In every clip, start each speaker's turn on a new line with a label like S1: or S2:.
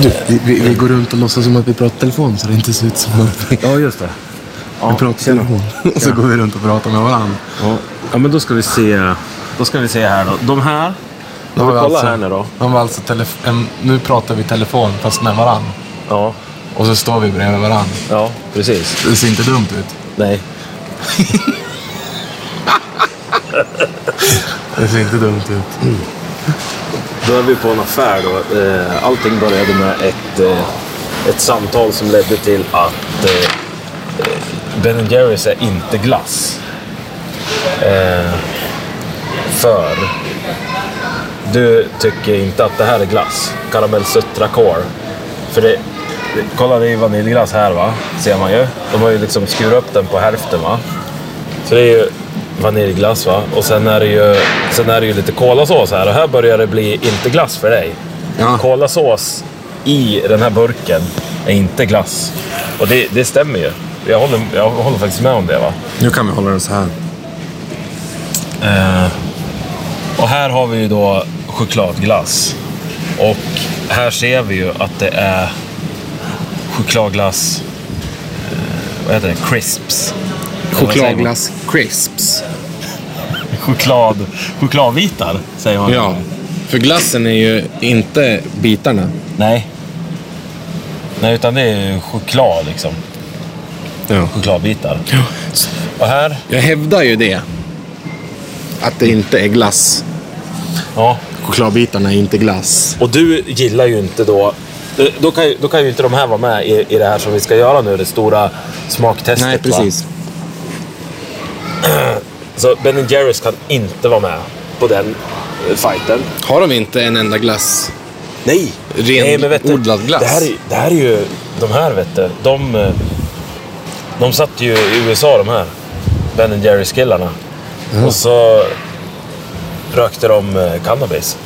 S1: Du, vi, vi, vi går runt och låtsas som att vi pratar telefon så det inte ser ut som att vi,
S2: Ja, just det.
S1: vi pratar telefon. Och så går vi runt och pratar med varandra.
S2: Ja. ja, men då ska vi se. Då ska vi se här då. De här.
S1: De
S2: vi kollar här nu då?
S1: De var alltså telef- en, nu pratar vi telefon fast med varandra.
S2: Ja,
S1: Och så står vi bredvid varandra.
S2: ja precis.
S1: Det ser inte dumt ut.
S2: Nej.
S1: Det ser inte dumt ut.
S2: Då är vi på en affär då. Eh, Allting började med ett, eh, ett samtal som ledde till att eh, eh, Ben Jerrys är inte glass. Eh, För du tycker inte att det här är glass. Karamell Sutra Core. För det, det- kolla det är ju vaniljglass här va, ser man ju. De har ju liksom skurit upp den på hälften va. Så det är ju vaniljglass va. Och sen är det ju, sen är det ju lite kolasås här. Och här börjar det bli inte glass för dig.
S1: Ja.
S2: Kolasås i den här burken är inte glass. Och det, det stämmer ju. Jag håller, jag håller faktiskt med om det va.
S1: Nu kan vi hålla den så här.
S2: Eh, och här har vi ju då chokladglass. Och här ser vi ju att det är chokladglass... Eh, vad heter det? Crisps.
S1: Chokladglass crisps.
S2: Choklad, chokladbitar säger man.
S1: Ja. För glassen är ju inte bitarna.
S2: Nej. Nej, utan det är ju choklad liksom.
S1: Ja.
S2: Chokladbitar. Och här,
S1: Jag hävdar ju det. Att det inte är glass.
S2: ja.
S1: Chokladbitarna är inte glass.
S2: Och du gillar ju inte då... eh, Då kan, ju- då kan ju inte de här vara med i, i det här som vi ska göra nu, det stora smaktestet.
S1: Nej,
S2: va?
S1: precis.
S2: Så Ben Jerrys kan inte vara med på den eh, fighten.
S1: Har de inte en enda glass?
S2: Nej!
S1: Ren
S2: Nej, men vet du,
S1: odlad glass.
S2: Det här, är- det här är ju... De här vet du, de... eh, De satt ju i USA de här. Ben Jerrys killarna.
S1: Mm.
S2: Och så rökte de eh, cannabis.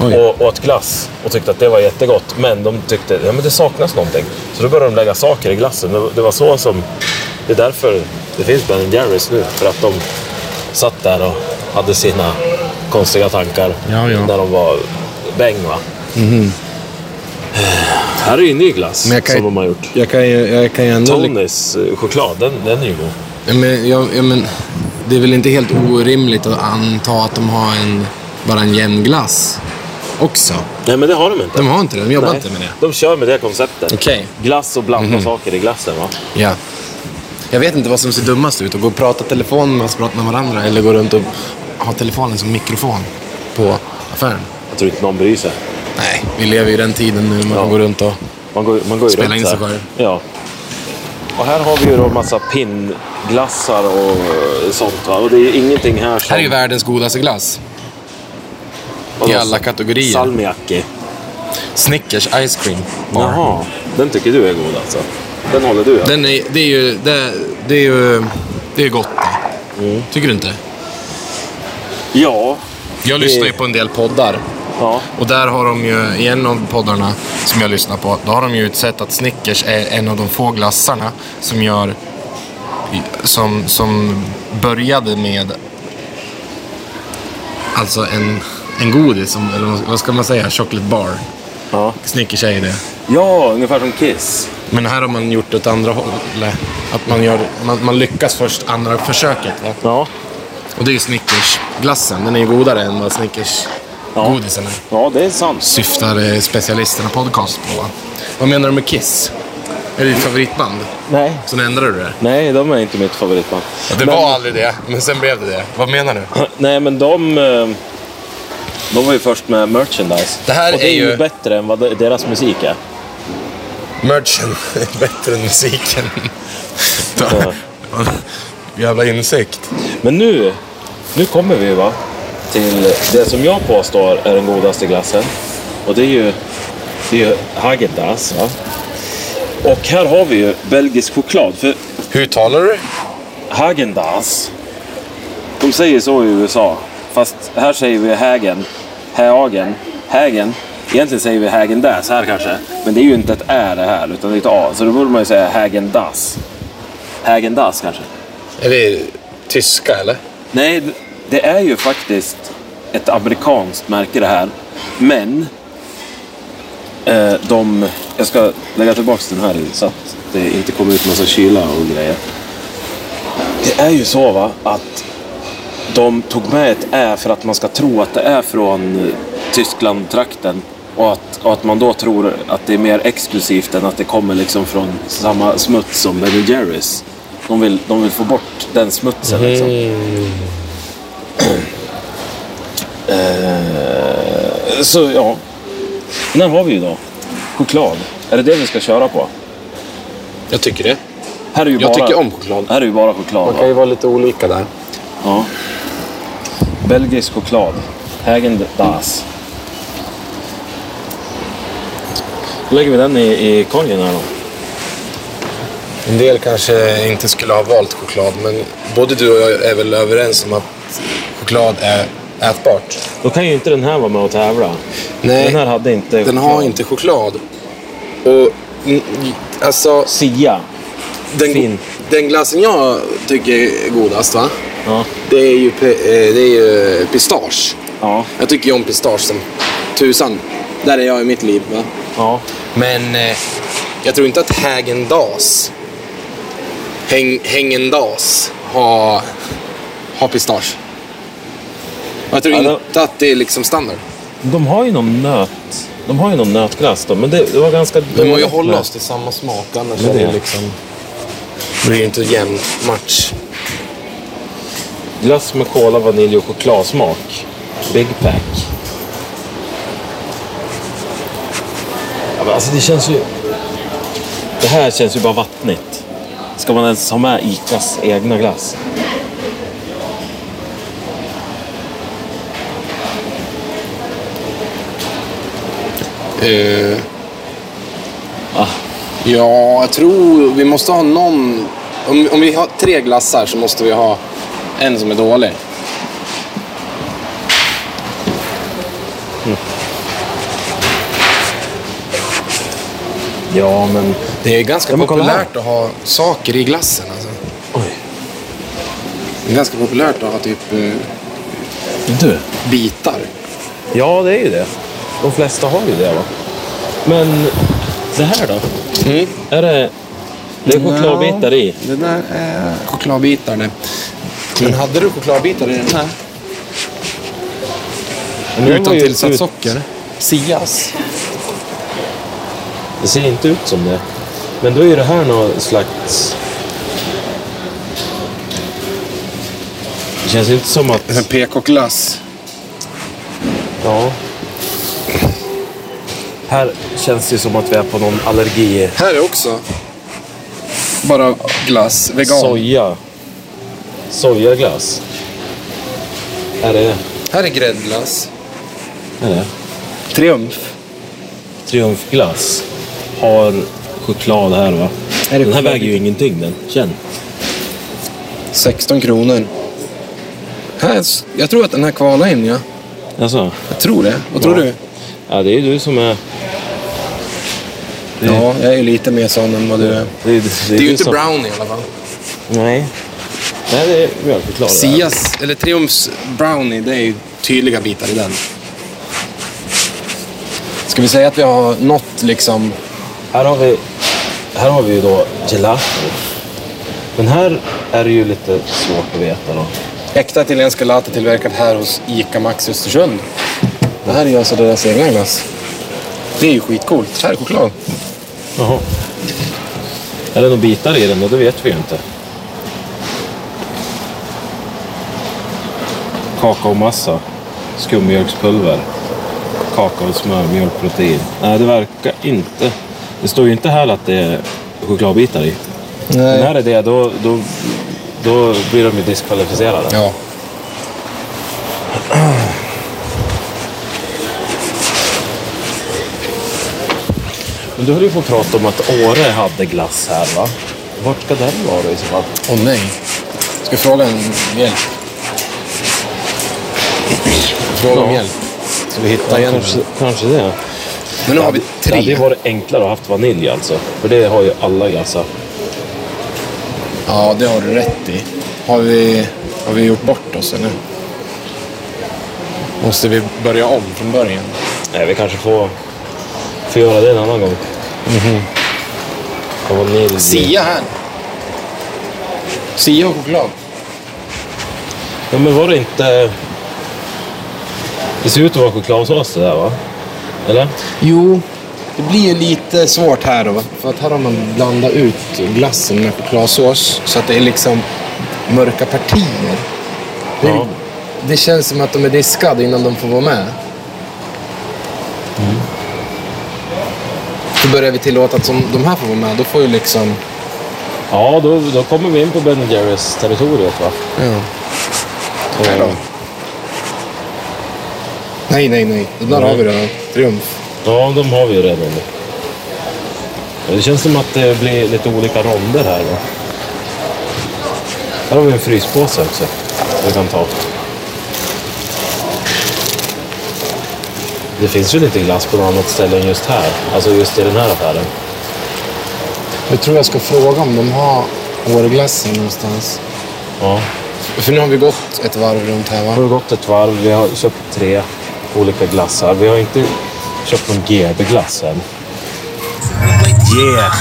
S1: Oj.
S2: Och åt glass och tyckte att det var jättegott. Men de tyckte att ja, men det saknas någonting. Så då började de lägga saker i glassen. Det var- Det var så som... Det är därför det finns Ben Jerrys nu. För att de satt där och hade sina konstiga tankar
S1: Ja, ja.
S2: när de var bäng. Va? Här är ju ny glass
S1: Men jag kan
S2: som
S1: ju-
S2: de har gjort.
S1: Jag kan ju, jag kan ju ändå...
S2: Tonys eh, choklad, den, den är ju god.
S1: Ja, Men, ja, ja, men, det är väl inte helt orimligt att anta att de har en, bara en jämn glass också.
S2: Nej, men det har de inte.
S1: De har inte det, de jobbar
S2: Nej.
S1: inte med det.
S2: De kör med det konceptet.
S1: Okej. Mhm.
S2: Glass och blanda saker i glassen. Va?
S1: Ja. Jag vet inte vad som ser dummast ut, att gå och prata telefon med, prata med varandra eller gå runt och ha telefonen som mikrofon på affären.
S2: Jag tror inte någon bryr sig.
S1: Nej, vi lever ju i den tiden nu man
S2: Ja.
S1: går runt och...
S2: Man går, man går ju
S1: Spela
S2: runt
S1: in sig
S2: så här.
S1: själv.
S2: Ja. Och här har vi ju då massa pinnglassar och eh, sånt. Va? Och det är ju ingenting här som...
S1: Här är ju världens godaste glass.
S2: vadå,
S1: i alla kategorier.
S2: Salmiakki.
S1: Snickers Ice Cream Bar.
S2: Jaha. Den tycker du är god alltså? Den håller du? Ja?
S1: Den är, det är ju... Det, det är ju... Det är gott det. Tycker du inte?
S2: Mm. ja.
S1: Jag lyssnar ju på en del poddar.
S2: ja.
S1: Och där har de ju, i en av poddarna som jag lyssnar på, då har de ju utsett att Snickers är en av de få glassarna som gör... Som, som började med... Alltså en, en godis, som, eller vad- vad ska man säga? Chocolate bar.
S2: Ja.
S1: Snickers är ju det.
S2: ja, ungefär som Kiss.
S1: Men här har man gjort åt andra hållet. Att man, gör, man, man lyckas först andra försöket. Va?
S2: Ja.
S1: Och det är ju Snickersglassen. Den är ju godare än vad
S2: Ja.
S1: Snickers-godisen är.
S2: Ja, det är sant.
S1: Syftar eh, specialisterna podcast på. Va? Vad menar du med Kiss? Är det ditt favoritband?
S2: Nej.
S1: Sen ändrade du det.
S2: Nej, de är inte mitt favoritband.
S1: Det
S2: Men-
S1: var aldrig det, men sen blev det det. Vad menar du?
S2: Nej, men de... eh, De var ju först med merchandise.
S1: Det här
S2: och det
S1: är
S2: är ju
S1: ju-
S2: bättre än vad de- deras musik är.
S1: Merchen är bättre än musiken.
S2: Ja.
S1: Jävla insikt.
S2: Men nu, nu kommer vi va till det som jag påstår är den godaste glassen. Och det är ju, det är ju Häagen-Dazs va. Och här har vi ju belgisk choklad. För
S1: Hur talar du?
S2: Häagen-Dazs, de säger så i USA. Fast här säger vi Hägen, Häagen, Hägen. Egentligen säger vi Häagen-Dazs här kanske. Men det är ju inte ett Ä det här, utan det är ett A. Så då borde man ju säga Hägen-Dazs. Hägen-Dazs kanske.
S1: Är det tyska eller?
S2: Nej, det är ju faktiskt ett amerikanskt märke det här. Men Eh, de, jag ska lägga tillbaka den här så att det inte kommer ut massa kyla och grejer. Det är ju så va, att de tog med ett Ä för att man ska tro att det är från Tyskland-trakten. Och att, och att man då tror att det är mer exklusivt än att det kommer liksom från samma smuts som Ben Jerrys. De vill, de vill få bort den smutsen liksom. Eh, så ja. Den här har vi ju då. Choklad. Är det det vi ska köra på?
S1: Jag tycker det.
S2: Här är ju
S1: Jag
S2: bara,
S1: tycker om choklad.
S2: Här är ju bara choklad.
S1: Man kan
S2: va?
S1: ju vara lite olika där.
S2: Ja. Belgisk choklad. Hägen das. Då lägger vi den i, i korgen här då.
S1: En del kanske inte skulle ha valt choklad, men både du och jag är väl överens om att choklad är ätbart?
S2: Då kan ju inte den här vara med och tävla.
S1: Nej,
S2: den här hade inte
S1: den har
S2: choklad.
S1: inte choklad. Och mm, alltså,
S2: Sia. Fin.
S1: den, den glassen jag tycker är godast, va?
S2: Ja.
S1: Det är ju, pe- eh, det är ju pistage.
S2: Ja.
S1: Jag tycker ju om pistage som tusan. Där är jag i mitt liv, va?
S2: Ja.
S1: Men eh, jag tror inte att Hägendas Häng, Hängendas har, har pistage. Och Jag tror
S2: Ja, det-
S1: inte att det är liksom standard.
S2: De har ju någon nöt. De har ju någon nötglass då, men det, det var ganska...
S1: Vi måste ju hålla oss till samma smak, annars
S2: Det är
S1: är
S2: det.
S1: det liksom... Det blir ju inte jämn match.
S2: Glass med kola, vanilj och chokladsmak. Big pack. Ja, men alltså det känns ju... Det här känns ju bara vattnigt. Ska man ens ha med Icas egna glass?
S1: Eh,
S2: Ah.
S1: Ja, jag tror vi måste ha någon... Om, om vi har tre glassar så måste vi ha en som är dålig.
S2: Ja, men...
S1: Det är ganska
S2: Ja, men kolla här.
S1: populärt att ha saker i glassen. Alltså.
S2: Oj.
S1: Det är ganska populärt att ha typ eh,
S2: Du.
S1: bitar.
S2: Ja, det är ju det. De flesta har ju det, va? Men det här då? Är det... Det är chokladbitar i.
S1: Det där är chokladbitar det. Men hade du chokladbitar i den här?
S2: Men den var
S1: Utan
S2: ju
S1: tillsatt
S2: ut-
S1: socker? Sias?
S2: Det ser inte ut som det. Men då är ju det här någon slags... Det känns inte som
S1: En
S2: att...
S1: PK-glass.
S2: Ja. Här känns det som att vi är på någon allergi...
S1: Här är också. Bara glass. Vegan.
S2: Soja. Sojaglass. Här är det.
S1: Här är gräddglass.
S2: Här är det.
S1: Triumf.
S2: Triumfglass. Har choklad här va?
S1: Är det
S2: den här
S1: choklad?
S2: väger ju ingenting den. Känn.
S1: 16 kronor. Här, jag tror att den här kvalar in, ja.
S2: Alltså.
S1: Jag tror det. Vad tror
S2: Ja.
S1: du?
S2: Ja, det är ju du som är... Det-
S1: Ja, jag är ju lite mer sån än vad du är.
S2: Det är, det är,
S1: Det är
S2: du
S1: ju inte
S2: som-
S1: brownie i alla fall.
S2: Nej. Nej, det är mjölkchoklad. det här.
S1: Sias, eller Triumfs brownie, det är ju tydliga bitar i den. Ska vi säga att vi har nått liksom...
S2: Här har vi, här har vi ju då gelato. Men här är det ju lite svårt att veta då.
S1: Äkta italiensk gelato tillverkad här hos ICA Maxi Östersund. Det här är ju alltså deras egna glass. Det är ju skitcoolt. Här är choklad.
S2: Jaha. Är det några bitar i den då? Det vet vi ju inte. Kakaomassa, skummjölkspulver, kakaosmör, mjölkprotein. Nej, det verkar inte. Det står ju inte här att det är chokladbitar i.
S1: Eh.
S2: Men här är det, då, då, då blir de ju diskvalificerade.
S1: Ja.
S2: Men du höll ju på att prata om att Åre hade glass här va? Vart ska den vara då i så fall?
S1: Åh nej. Ska jag fråga en hjälp? Fråga om
S2: Ja.
S1: hjälp. Ska vi hitta igen?
S2: kanske, kanske det.
S1: Men nu har vi
S2: Det hade ju
S1: tre.
S2: varit enklare att haft vanilj alltså. För det har ju alla glassar.
S1: Ja, det har du rätt i. Har vi, har vi gjort bort oss eller? Måste vi börja om från början?
S2: Nej, vi kanske får... Får göra det en annan gång.
S1: Mhm.
S2: Vad ni vill.
S1: Sia här. Sia och choklad.
S2: Ja, men var det inte... Det ser ut att vara chokladsås det där va? Eller?
S1: Jo, det blir ju lite svårt här då. För att här har man blandat ut glassen med chokladsås så att det är liksom mörka partier. Det,
S2: Ja.
S1: det känns som att de är diskade innan de får vara med. Mm. Så börjar vi tillåta att som de här får vara med, då får ju liksom...
S2: Ja, då, då kommer vi in på Ben Jerrys territoriet va?
S1: Ja. Nej, nej, nej. Den där
S2: Nej.
S1: har vi redan. Triumf.
S2: Ja, de har vi ju redan. Det känns som att det blir lite olika ronder här. Va? Här har vi en fryspåse också. Vi kan ta. Det finns ju lite glass på något annat ställe än just här. Alltså just i den här affären.
S1: Jag tror jag ska fråga om de har Åreglassen någonstans.
S2: Ja.
S1: För nu har vi gått ett varv runt här
S2: Nu har
S1: va?
S2: vi gått ett varv. Vi har köpt tre olika glassar. Vi har inte köpt någon GB-glass än.
S3: Yeah.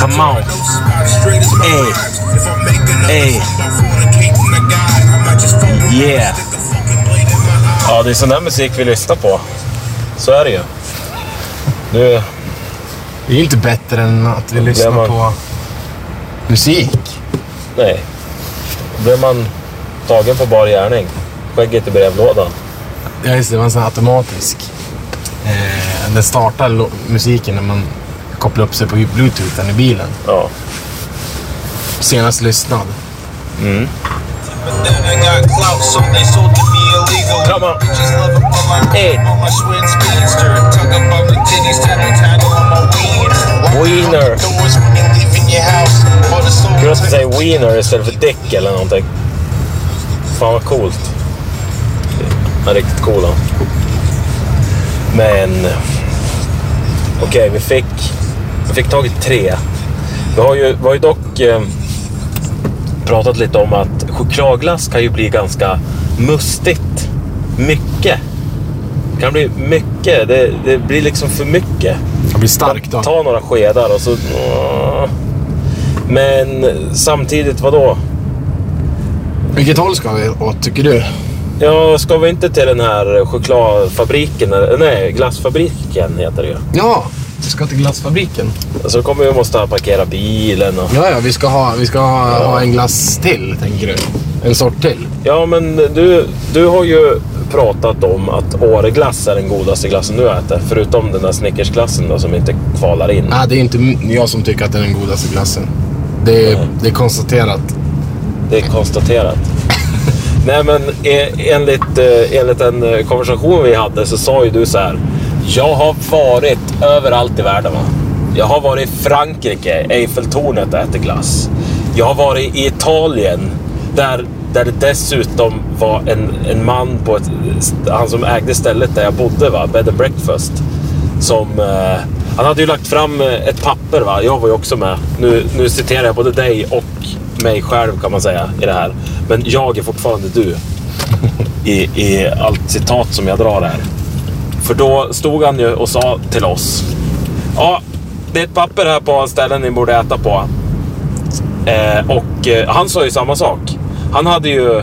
S3: Come on. Hey. Hey. Yeah.
S2: Ja, det är sån här musik vi lyssnar på. Så är det ju. Nu
S1: Det är ju inte bättre än att vi
S2: lyssnar man-
S1: på musik.
S2: Nej. Då blir man tagen på bar gärning. Skägget i brevlådan.
S1: Ja just det, det var en sån här automatisk. Eh, den startar lo- musiken när man kopplar upp sig på bluetoothen i bilen.
S2: Ja.
S1: Senast lyssnad.
S2: Come on.
S3: Hey.
S2: Wiener. Kul att vi
S3: Wiener.
S2: säger wiener istället för dick eller någonting. Fan vad coolt. Han är riktigt cool han. Men... Okej, vi fick... Vi fick tag i tre. Vi har ju, vi har ju dock eh, pratat lite om att chokladglass kan ju bli ganska mustigt. Mycket. Det kan bli mycket. Det, det blir liksom för mycket.
S1: Det blir starkt då.
S2: Ta några skedar och så... Men samtidigt, vadå?
S1: Vilket håll ska vi åt tycker du?
S2: Ja, ska vi inte till den här chokladfabriken? eller- Nej, glassfabriken heter det ju.
S1: Ja, vi ska till glassfabriken.
S2: Så kommer vi måste parkera bilen och...
S1: Ja, ja, vi ska, ha, vi ska ha, ha en glass till tänker du. En sort till.
S2: Ja, men du, du har ju pratat om att Åreglass är den godaste glassen du äter. Förutom den där Snickersglassen då som inte kvalar in.
S1: Nej, det är inte m- jag som tycker att det är den godaste glassen. Det är, det är konstaterat.
S2: Det är konstaterat. Nej men eh, enligt, eh, enligt en eh, konversation vi hade så sa ju du så här. Jag har varit överallt i världen. Va? Jag har varit i Frankrike, Eiffeltornet och ätit glass. Jag har varit i Italien där, där det dessutom var en, en man på ett, han som ägde stället där jag bodde, va? Bed and Breakfast. Som, eh, han hade ju lagt fram eh, ett papper, va? jag var ju också med. Nu, nu citerar jag både dig och mig själv kan man säga i det här. Men jag är fortfarande du i, i allt citat som jag drar här. För då stod han ju och sa till oss. Ja, det är ett papper här på ställen ni borde äta på. Eh, och eh, han sa ju samma sak. Han hade ju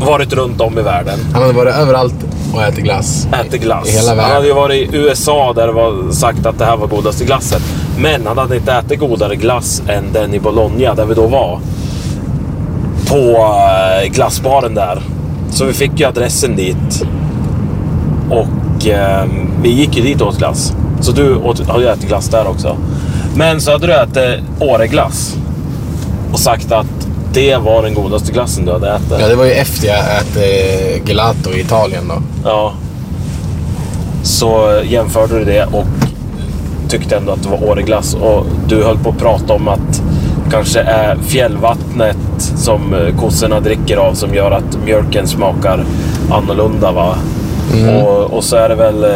S2: varit runt om i världen.
S1: Han hade varit överallt och ätit glass.
S2: Äter glass.
S1: I hela världen.
S2: Han hade ju varit i USA där det var sagt att det här var godaste glassen. Men han hade inte ätit godare glass än den i Bologna där vi då var. På eh, glassbaren där. Så vi fick ju adressen dit. Och eh, vi gick ju dit och åt glass. Så du åt, har ju ätit glass där också. Men så hade du ätit Åreglass. Och sagt att det var den godaste glassen du hade ätit.
S1: Ja, det var ju efter jag ätit gelato i Italien då.
S2: Ja. Så jämförde du det och tyckte ändå att det var Åreglass. Och du höll på att prata om att det kanske är fjällvattnet som eh, kossorna dricker av som gör att mjölken smakar annorlunda. Va?
S1: Mm.
S2: Och, och så är det väl... eh,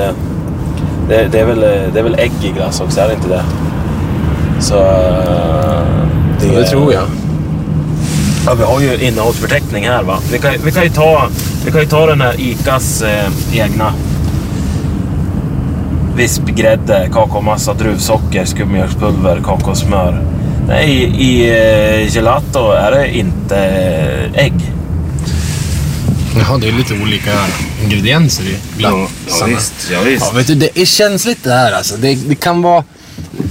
S2: Det, det, är väl eh, det är väl ägg i glass också, är det inte det? Så... eh,
S1: Det tror jag.
S2: Ja, vi har ju innehållsförteckning här va. Vi kan, vi kan, ju, ta, vi kan ju ta den här ICAs eh, egna. vispgrädde, kakaomassa, druvsocker, skummjölkspulver, kakaosmör. Nej, i eh, gelato är det inte eh, ägg.
S1: Jaha, det är lite olika ingredienser i glassarna.
S2: ja, visst.
S1: Ja, vet du, det är känsligt det här alltså. Det, det, kan vara,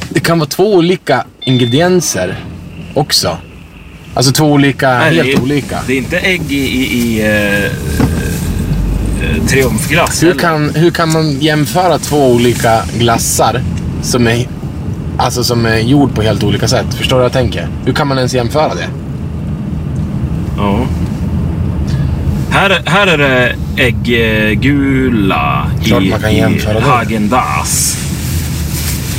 S1: det kan vara två olika ingredienser också. Alltså två olika,
S2: Nej,
S1: helt
S2: det är,
S1: olika.
S2: Det är inte ägg i, i, i eh, eh, triumfglass
S1: Hur
S2: heller.
S1: kan, hur kan man jämföra två olika glassar som är, alltså som är gjord på helt olika sätt? Förstår du vad jag tänker? Hur kan man ens jämföra det?
S2: Ja. Här, här är det ägggula
S1: Klart man kan
S2: i
S1: jämföra det.
S2: Häagen-Dazs.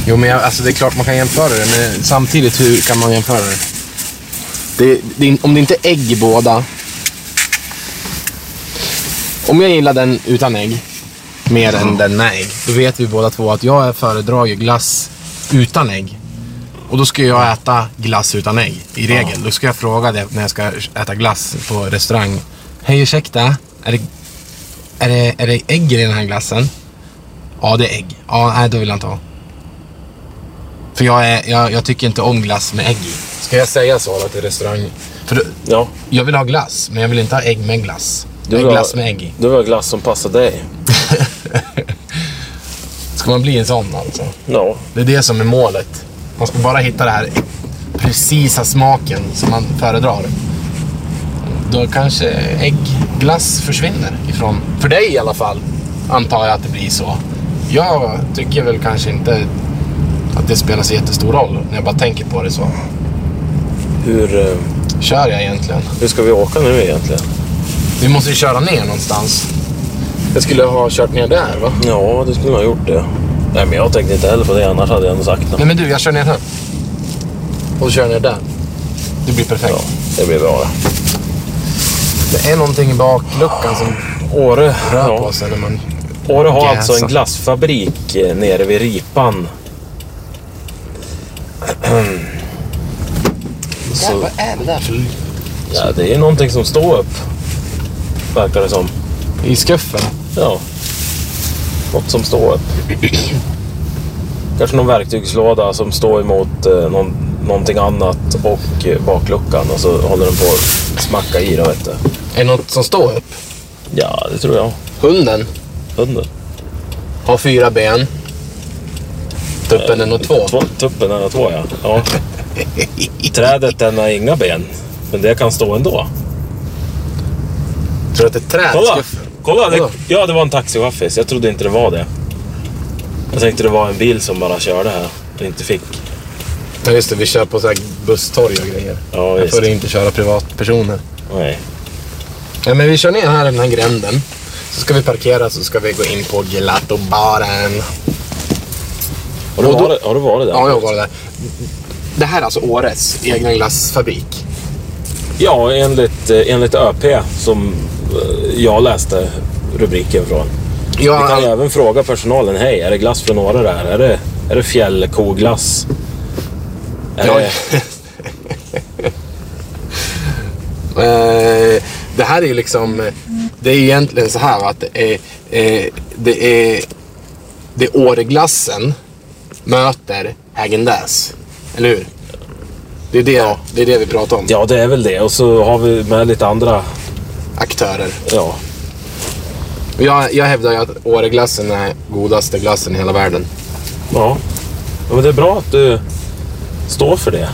S1: Jo, men jag, alltså det är klart man kan jämföra det, men samtidigt hur kan man jämföra det? det, det är- om det inte är ägg i båda. Om jag gillar den utan ägg mer än den med ägg, då vet vi båda två att jag föredrar ju glass utan ägg. Och då ska jag äta glass utan ägg, i regel. Då ska jag fråga det när jag ska äta glass på restaurang. Hej, ursäkta. Är det, är det, är det ägg i den här glassen? Ja, det är ägg. Ja, nej, då vill jag inte ha. För jag, är, jag, jag tycker inte om glass med ägg i. Ska jag säga så då till restaurang? För då,
S2: Ja,
S1: jag vill ha glass, men jag vill inte ha ägg med glass. Jag
S2: Du vill
S1: vill
S2: ha-
S1: glass med ägg i.
S2: det var glass som passade dig.
S1: Ska man bli en sån alltså?
S2: Ja.
S1: Det är det som är målet. Man ska bara hitta den här precisa smaken som man föredrar. Då kanske äggglass försvinner ifrån... För dig i alla fall, antar jag att det blir så. Jag tycker väl kanske inte att det spelar så jättestor roll när jag bara tänker på det så.
S2: Hur, eh,
S1: Kör jag egentligen?
S2: hur ska vi åka nu egentligen?
S1: Vi måste ju köra ner någonstans. Jag skulle ha kört ner där va?
S2: Ja, du skulle nog ha gjort det. Nej, men jag tänkte inte heller på det. Annars hade jag nog sagt något.
S1: Nej men du, jag kör ner här. Och så kör jag ner där. Det blir perfekt.
S2: Ja, det blir bra det.
S1: Det är någonting i bakluckan som
S2: Åre,
S1: rör
S2: ja.
S1: på sig när man...
S2: Åre har alltså en
S1: Gäsa.
S2: glassfabrik eh, nere vid Ripan. Så-
S1: Vad är det där för...
S2: Ja, det är någonting som står upp. Verkar det som.
S1: I skuffen?
S2: Ja. Något som står upp. Kanske någon verktygslåda som står emot eh, någon, någonting annat och eh, bakluckan och så håller den på att smacka i det, vet du.
S1: Är det något som står upp?
S2: Ja, det tror jag.
S1: Hunden
S2: Under.
S1: har fyra ben. Tuppen är nog två.
S2: två tuppen är två, ja. ja. Trädet den har inga ben, men det kan stå ändå.
S1: Tror du att det är ett träd i
S2: Kolla!
S1: skuffen?
S2: Kolla! Det,
S1: Vadå?
S2: ja, det var en taxichaffis. Jag trodde inte det var det. Jag tänkte det var en bil som bara körde här och inte fick.
S1: Ja just det, vi kör på så här busstorg och grejer.
S2: Ja,
S1: Här får
S2: visst.
S1: du inte köra privatpersoner.
S2: Nej.
S1: Ja, men vi kör ner här i den här gränden. Så ska vi parkera så ska vi gå in på gelatobaren.
S2: Har du,
S1: Och då-
S2: varit, har du varit där?
S1: Ja, jag var där. Det här är alltså Åres egna glassfabrik.
S2: Ja, enligt, eh, enligt ÖP som eh, jag läste rubriken från. Vi
S1: Jag,
S2: kan även fråga personalen. Hej, är det glass från Åre där? Är det, är det fjällkoglass? Är
S1: Ja.
S2: det,
S1: eh, det här är ju liksom... eh, Det är egentligen så här va, att det är... Eh, det är... Det är Åreglassen möter Häagen-Dazs. Eller hur? Det är det, det är det vi pratar om.
S2: ja, det är väl det. Och så har vi med lite andra.
S1: Aktörer.
S2: Ja,
S1: Och Jag, jag hävdar ju att Åreglassen är godaste glassen i hela världen.
S2: ja. ja men det är bra att du står för det.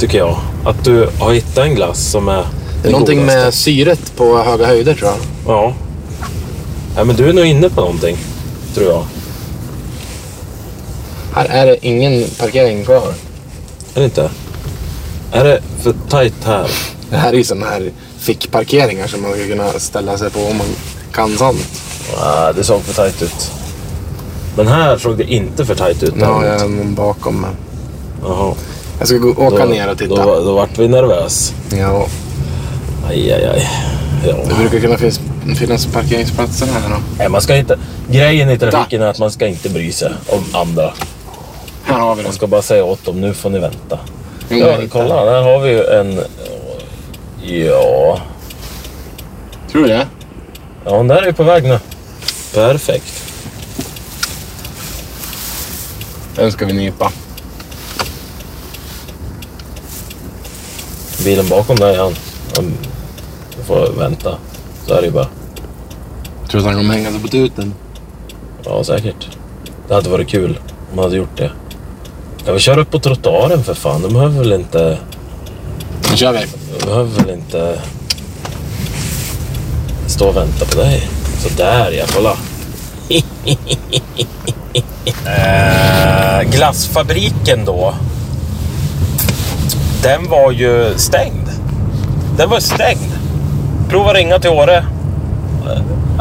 S2: Tycker jag. Att du har hittat en glass som är
S1: Det är
S2: den
S1: någonting
S2: godaste.
S1: med syret på höga höjder tror jag.
S2: Ja. ja. Men du är nog inne på någonting. Tror jag.
S1: Här är det ingen parkering kvar.
S2: Är det inte? Är det för tajt här?
S1: Det här är ju sådana här fickparkeringar som man skulle kunna ställa sig på om man kan sånt.
S2: Ah, det såg för tajt ut. Men här såg det inte för tajt ut.
S1: Nu har jag någon bakom mig.
S2: Jaha.
S1: Jag ska gå, åka ner och titta.
S2: Då, då vart vi nervös.
S1: Ja,
S2: Aj, aj, aj.
S1: det
S2: Ja.
S1: brukar kunna finnas, finnas parkeringsplatser här då.
S2: Nej, man ska inte... Grejen i trafiken är att man ska inte bry sig om andra.
S1: Här har vi
S2: Man
S1: den.
S2: ska bara säga åt dem, nu får ni vänta.
S1: Jo,
S2: Ja,
S1: jag hittar den.
S2: kolla, där har vi ju en... Ja...
S1: Tror du det?
S2: Ja, den där är ju på väg nu. Perfekt.
S1: Den ska vi nypa.
S2: Bilen bakom dig, han... han får vänta. Så är det ju bara.
S1: Tror du att han kommer hänga sig på tuten?
S2: Ja, säkert. Det hade varit kul om man hade gjort det. Kan vi köra upp på trottoaren för fan? De behöver väl inte...
S1: Nu kör vi.
S2: De behöver väl inte... Stå och vänta på dig. Sådär ja, kolla. eh, glassfabriken då. Den var ju stängd. Den var stängd. Prova ringa till Åre. Eh,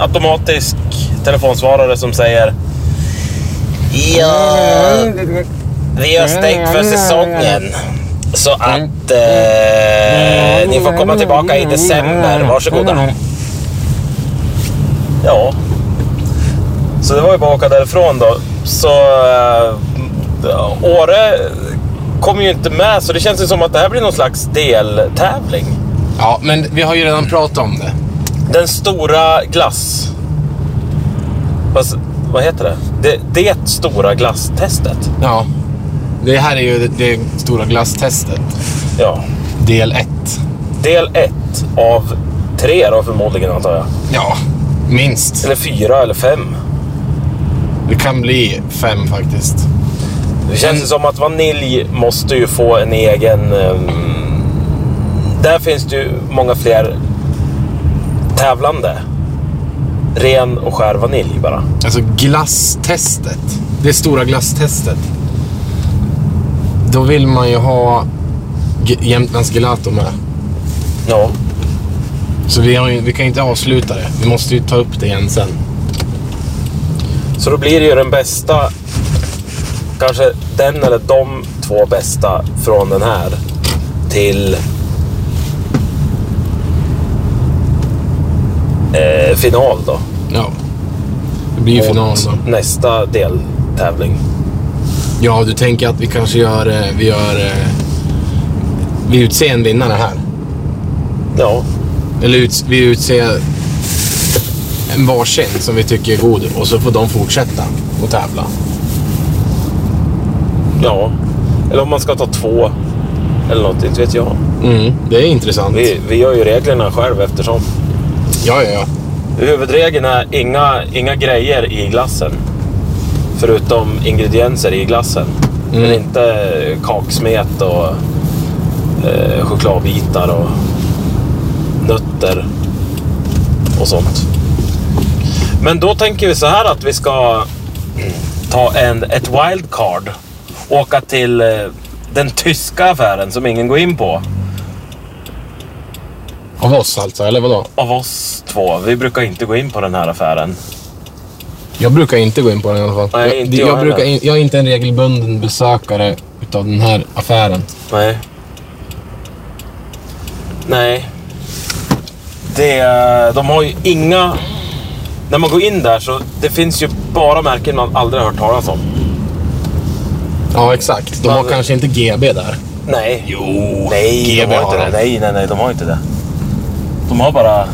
S2: Automatisk telefonsvarare som säger Ja, vi har stängt för säsongen. Så att eh, ni får komma tillbaka i december. Varsågoda. Ja. Så det var ju bara att åka därifrån då. Så eh, Åre kom ju inte med, så det känns ju som att det här blir någon slags deltävling.
S1: Ja, men vi har ju redan pratat om det.
S2: Den stora glass... Fast, vad heter det? det? Det stora glasstestet.
S1: Ja. Det här är ju det, det stora glasstestet.
S2: Ja.
S1: Del 1.
S2: Del 1 av tre då förmodligen antar jag.
S1: Ja, minst.
S2: Eller fyra eller fem.
S1: Det kan bli fem faktiskt.
S2: Det känns ju som att vanilj måste ju få en egen... ehm, där finns det ju många fler tävlande. Ren och skär vanilj bara.
S1: Alltså glasstestet. Det stora glasstestet. Då vill man ju ha G- Jämtlands Gelato med.
S2: Ja.
S1: Så vi, har ju, vi kan ju inte avsluta det. Vi måste ju ta upp det igen sen.
S2: Så då blir det ju den bästa... Kanske den eller de två bästa från den här till... Eh, final då.
S1: Ja. Det blir ju final
S2: alltså.
S1: då.
S2: Nästa deltävling.
S1: Ja, du tänker att vi kanske gör... eh, Vi gör... eh, Vi utser en vinnare här.
S2: Ja,
S1: Eller ut, vi utser en varsin som vi tycker är god och så får de fortsätta och tävla.
S2: ja. Eller om man ska ta två. Eller något, inte vet jag.
S1: Mm, det är intressant.
S2: Vi, vi gör ju reglerna själv eftersom.
S1: Ja, ja, ja.
S2: Huvudregeln är inga, inga grejer i glassen. Förutom ingredienser i glassen. Men inte kaksmet och eh, chokladbitar och nötter och sånt. Men då tänker vi så här att vi ska ta en, ett wildcard. Åka till eh, den tyska affären som ingen går in på.
S1: Av oss alltså, eller vadå?
S2: Av oss två. Vi brukar inte gå in på den här affären.
S1: Jag brukar inte gå in på den i alla fall.
S2: Nej, inte jag
S1: jag,
S2: heller.
S1: brukar in, jag är inte en regelbunden besökare utav den här affären.
S2: Nej. Nej. Det, de har ju inga... När man går in där så det finns ju bara märken man aldrig har hört talas om.
S1: Ja, exakt. De har
S2: Men-
S1: kanske inte GB där.
S2: Nej. Jo. Nej,
S1: GB
S2: de har
S1: har
S2: inte det.
S1: de.
S2: Nej, nej, nej, de har inte det. De har bara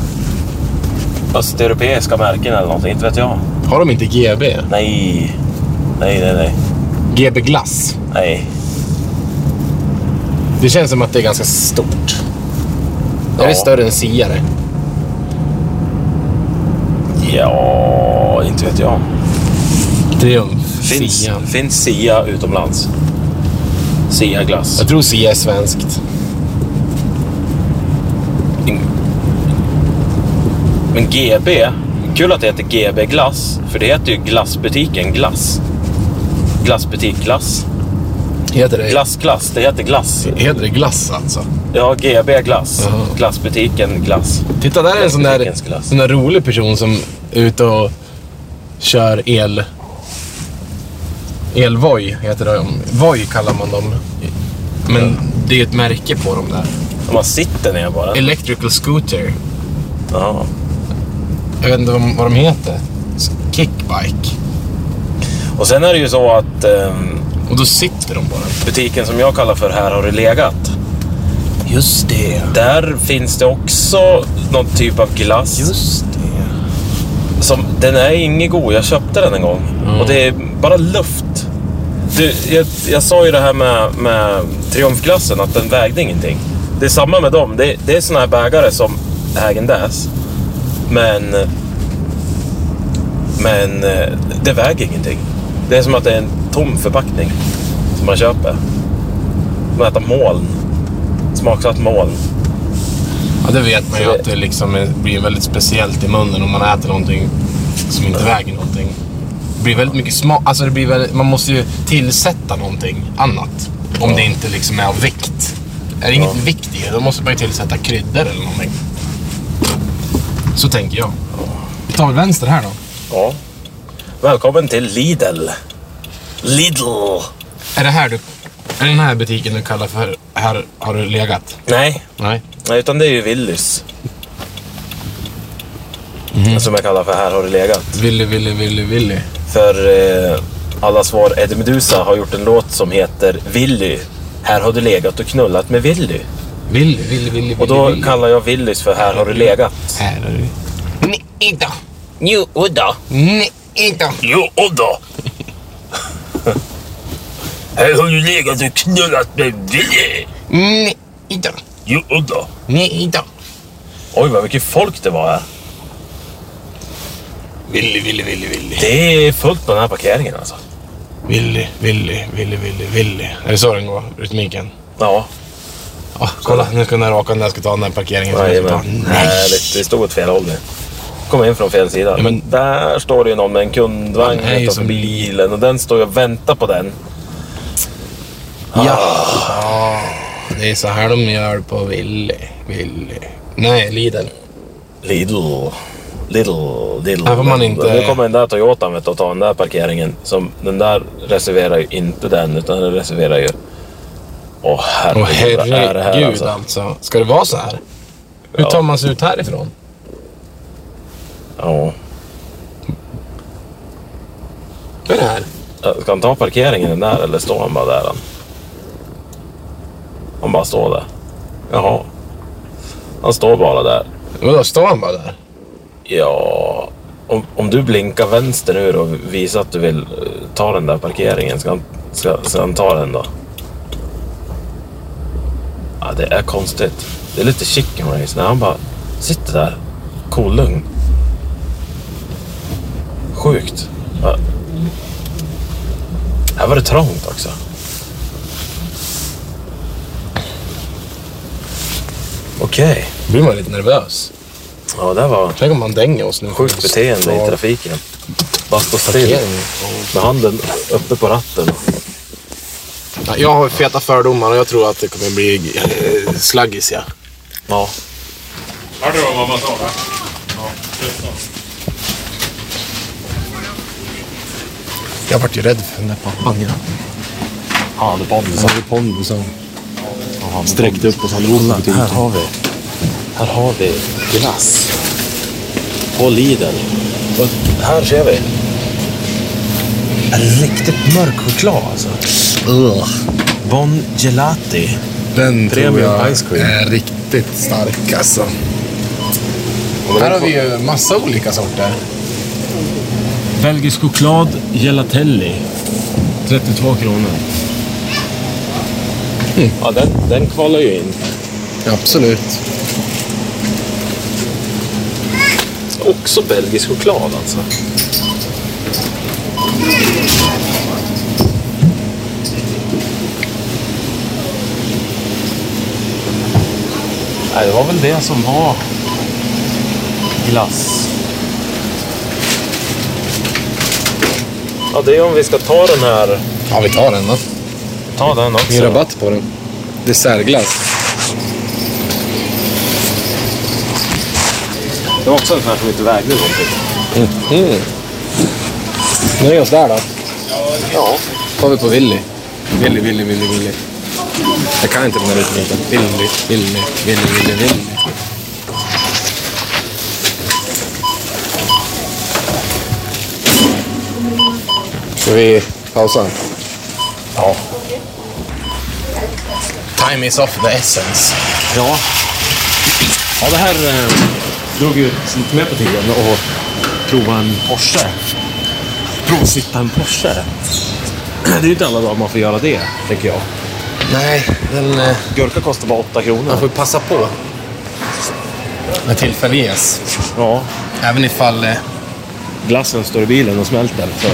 S2: östeuropeiska märken eller någonting. Inte vet jag.
S1: Har de inte GB?
S2: Nej. Nej, nej, nej.
S1: GB Glass.
S2: Nej.
S1: Det känns som att det är ganska stort.
S2: Ja.
S1: Är det större än Siare?
S2: Ja, inte vet jag.
S1: Triumf.
S2: Finns,
S1: Sia.
S2: finns Sia utomlands? Sia glass.
S1: Jag tror Sia är svenskt.
S2: Men GB, kul att det heter GB Glass, för det heter ju glassbutiken Glass. Glassbutik Glass.
S1: Heter det,
S2: Glass Glass, det heter Glass.
S1: heter det glass alltså?
S2: Ja, GB Glass.
S1: Jaha.
S2: Glassbutiken Glass.
S1: Titta, där är en sån där,
S2: Glassbutikens glass.
S1: sån där rolig person som är ute och kör el... Elvoj heter de. Voi kallar man dem. Men det är ett märke på dem där.
S2: Om Man sitter ner bara.
S1: Electrical Scooter.
S2: Ja.
S1: Jag vet inte vad, vad de heter. Kickbike.
S2: Och sen är det ju så att ehm,
S1: Och då sitter de på den.
S2: butiken som jag kallar för Här har det legat.
S1: Just det.
S2: Där finns det också någon typ av glass.
S1: Just det.
S2: Som, den är ingen god, jag köpte den en gång. Och det är bara luft. Du, jag, jag sa ju det här med, med triumfglassen, att den vägde ingenting. Det är samma med dem. Det, det är såna här bägare som ägendes. Men... Men eh, det väger ingenting. Det är som att det är en tom förpackning som man köper. Man äter moln. Smaksatt moln.
S1: Ja, det vet man ju att det liksom är- blir väldigt speciellt i munnen om man äter någonting som inte väger någonting. Det blir väldigt mycket smak. Alltså det blir väldigt, man måste ju tillsätta någonting annat. Om det inte liksom är av vikt. Är det inget vikt i det, då måste man ju tillsätta kryddor eller någonting. Så tänker jag. Vi tar väl vänster här då.
S2: Ja. Välkommen till Lidl. Lidl.
S1: Är det här du... Är det den här butiken du kallar för Här har du legat?
S2: Nej,
S1: Nej.
S2: nej, utan det är ju Willys.
S1: Mhm.
S2: Som jag kallar för Här har du legat.
S1: Willy, Willy, Willy, Willy.
S2: För eh, alla svar Eddie Meduza har gjort en låt som heter Willy. Här har du legat och knullat med Willy.
S1: Willy, Willy, Willy, Willy.
S2: Och då
S1: Willy.
S2: kallar jag Willys för Här har du legat.
S1: Här har du... Nej då!
S2: Jo, udda.
S1: Nej då!
S2: Jo, udda. Här har du legat och knullat med Willy.
S1: Nej då!
S2: Jo, udda.
S1: Nej då!
S2: Oj, vad mycket folk det var här.
S1: Willy, Willy, Willy, Willy.
S2: Det är fullt på den här parkeringen alltså.
S1: Willy, Willy, Willy, Willy, Willy. Är det så den går, rytmiken?
S2: Ja,
S1: Ja, kolla, nu ska den här raka när jag ska ta den här parkeringen. som jag ska ta.
S2: jajamän. Härligt. Det stod åt fel håll nu. Kom in från fel sida.
S1: Ja, men-
S2: Där står det ju någon med en kundvagn
S1: Han är ju
S2: utanför
S1: som-
S2: bilen och den står ju och väntar på den.
S1: Ja. ja. Det är så här de gör på Willy, Willy. Nej, Lidl.
S2: Lidl. Lidl, Lidl.
S1: Här får man inte-
S2: Nu kommer den där Toyotan vet du, och tar den där parkeringen. Som, den där reserverar ju inte den, utan den reserverar ju... Åh herregud,
S1: Åh
S2: vad är det här
S1: herregud alltså.
S2: alltså?
S1: Ska det vara så här? Hur
S2: Ja.
S1: tar man sig ut härifrån?
S2: Ja.
S1: Vad är det här?
S2: Ska han ta parkeringen den där eller står han bara där? Han, han bara står där. Jaha. Han står bara där.
S1: Vadå, står han bara där?
S2: Ja, om, om du blinkar vänster nu då och visar att du vill eh, ta den där parkeringen, ska han, ska, ska han ta den då? Ja, det är konstigt. Det är lite chicken race när han bara sitter där, kolugn. Sjukt. Ja. Här var det trångt också. Okej.
S1: Då blir man lite nervös.
S2: Ja, det var...
S1: Tänk om man dänger oss nu.
S2: Sjukt beteende i trafiken. Bara stå still
S1: Parkering.
S2: med handen uppe på ratten.
S1: Ja, Jag har feta fördomar och jag tror att det kommer bli eh, slaggis, ja.
S2: Ja.
S1: Jag vart ju rädd för den där pappan. Ja.
S2: Han
S4: Han hade pondusen.
S2: sträckte upp oss allihopa. Här har vi. Här har vi glass. På Lidl. Och här ser vi. En riktigt mörk choklad alltså. Bon Gelati.
S4: Den tror
S2: Premium
S4: jag
S2: ice cream.
S4: är riktigt stark alltså.
S1: Här har vi ju massa olika sorter.
S2: Belgisk choklad gelatelli. 32 kronor. Ja, den, den kvalar ju in.
S4: Absolut.
S2: Också belgisk choklad alltså. Nej, det var väl det som var glass. Ja, det är om vi ska ta den här.
S4: Ja, vi tar den då.
S2: Ta den också.
S4: Ingen rabatt på den. Dessertglass.
S2: Det var också en sån här som inte vägde någonting.
S4: Mhm. Nu är vi oss där då. Ja. Tar vi på Willy. Willy, Willy, Willy, Willy. Jag kan inte den här rytmiken. Willy, Willy, Willy, Willy, Willy. Ska vi pausa?
S1: Time is of the essence.
S2: Ja. Ja, det här eh, drog ju lite mer på tiden och prova en Porsche. Provsitta en Porsche. Det är ju inte alla dagar man får göra det, tänker jag.
S1: Nej, den... eh,
S2: Gurka kostar bara 8 kronor.
S1: Man får ju passa på. När tillfälle ges.
S2: Ja,
S1: Även ifall... eh,
S2: glassen står i bilen och smälter. Så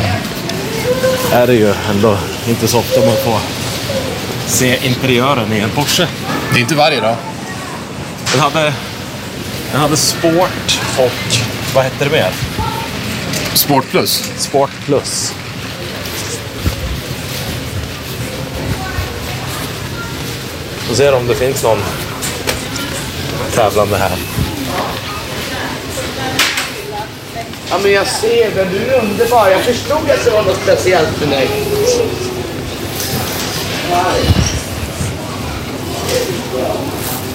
S2: är det ju ändå inte så ofta man får se interiören i en Porsche.
S1: Det är inte varje dag.
S2: Den hade, den hade Sport och... Vad hette det mer?
S1: Sport plus.
S2: Sport Plus. Vi ser om det finns någon tävlande här.
S5: Ja, men jag ser det. Du är underbar. Jag förstod att det var något speciellt med dig.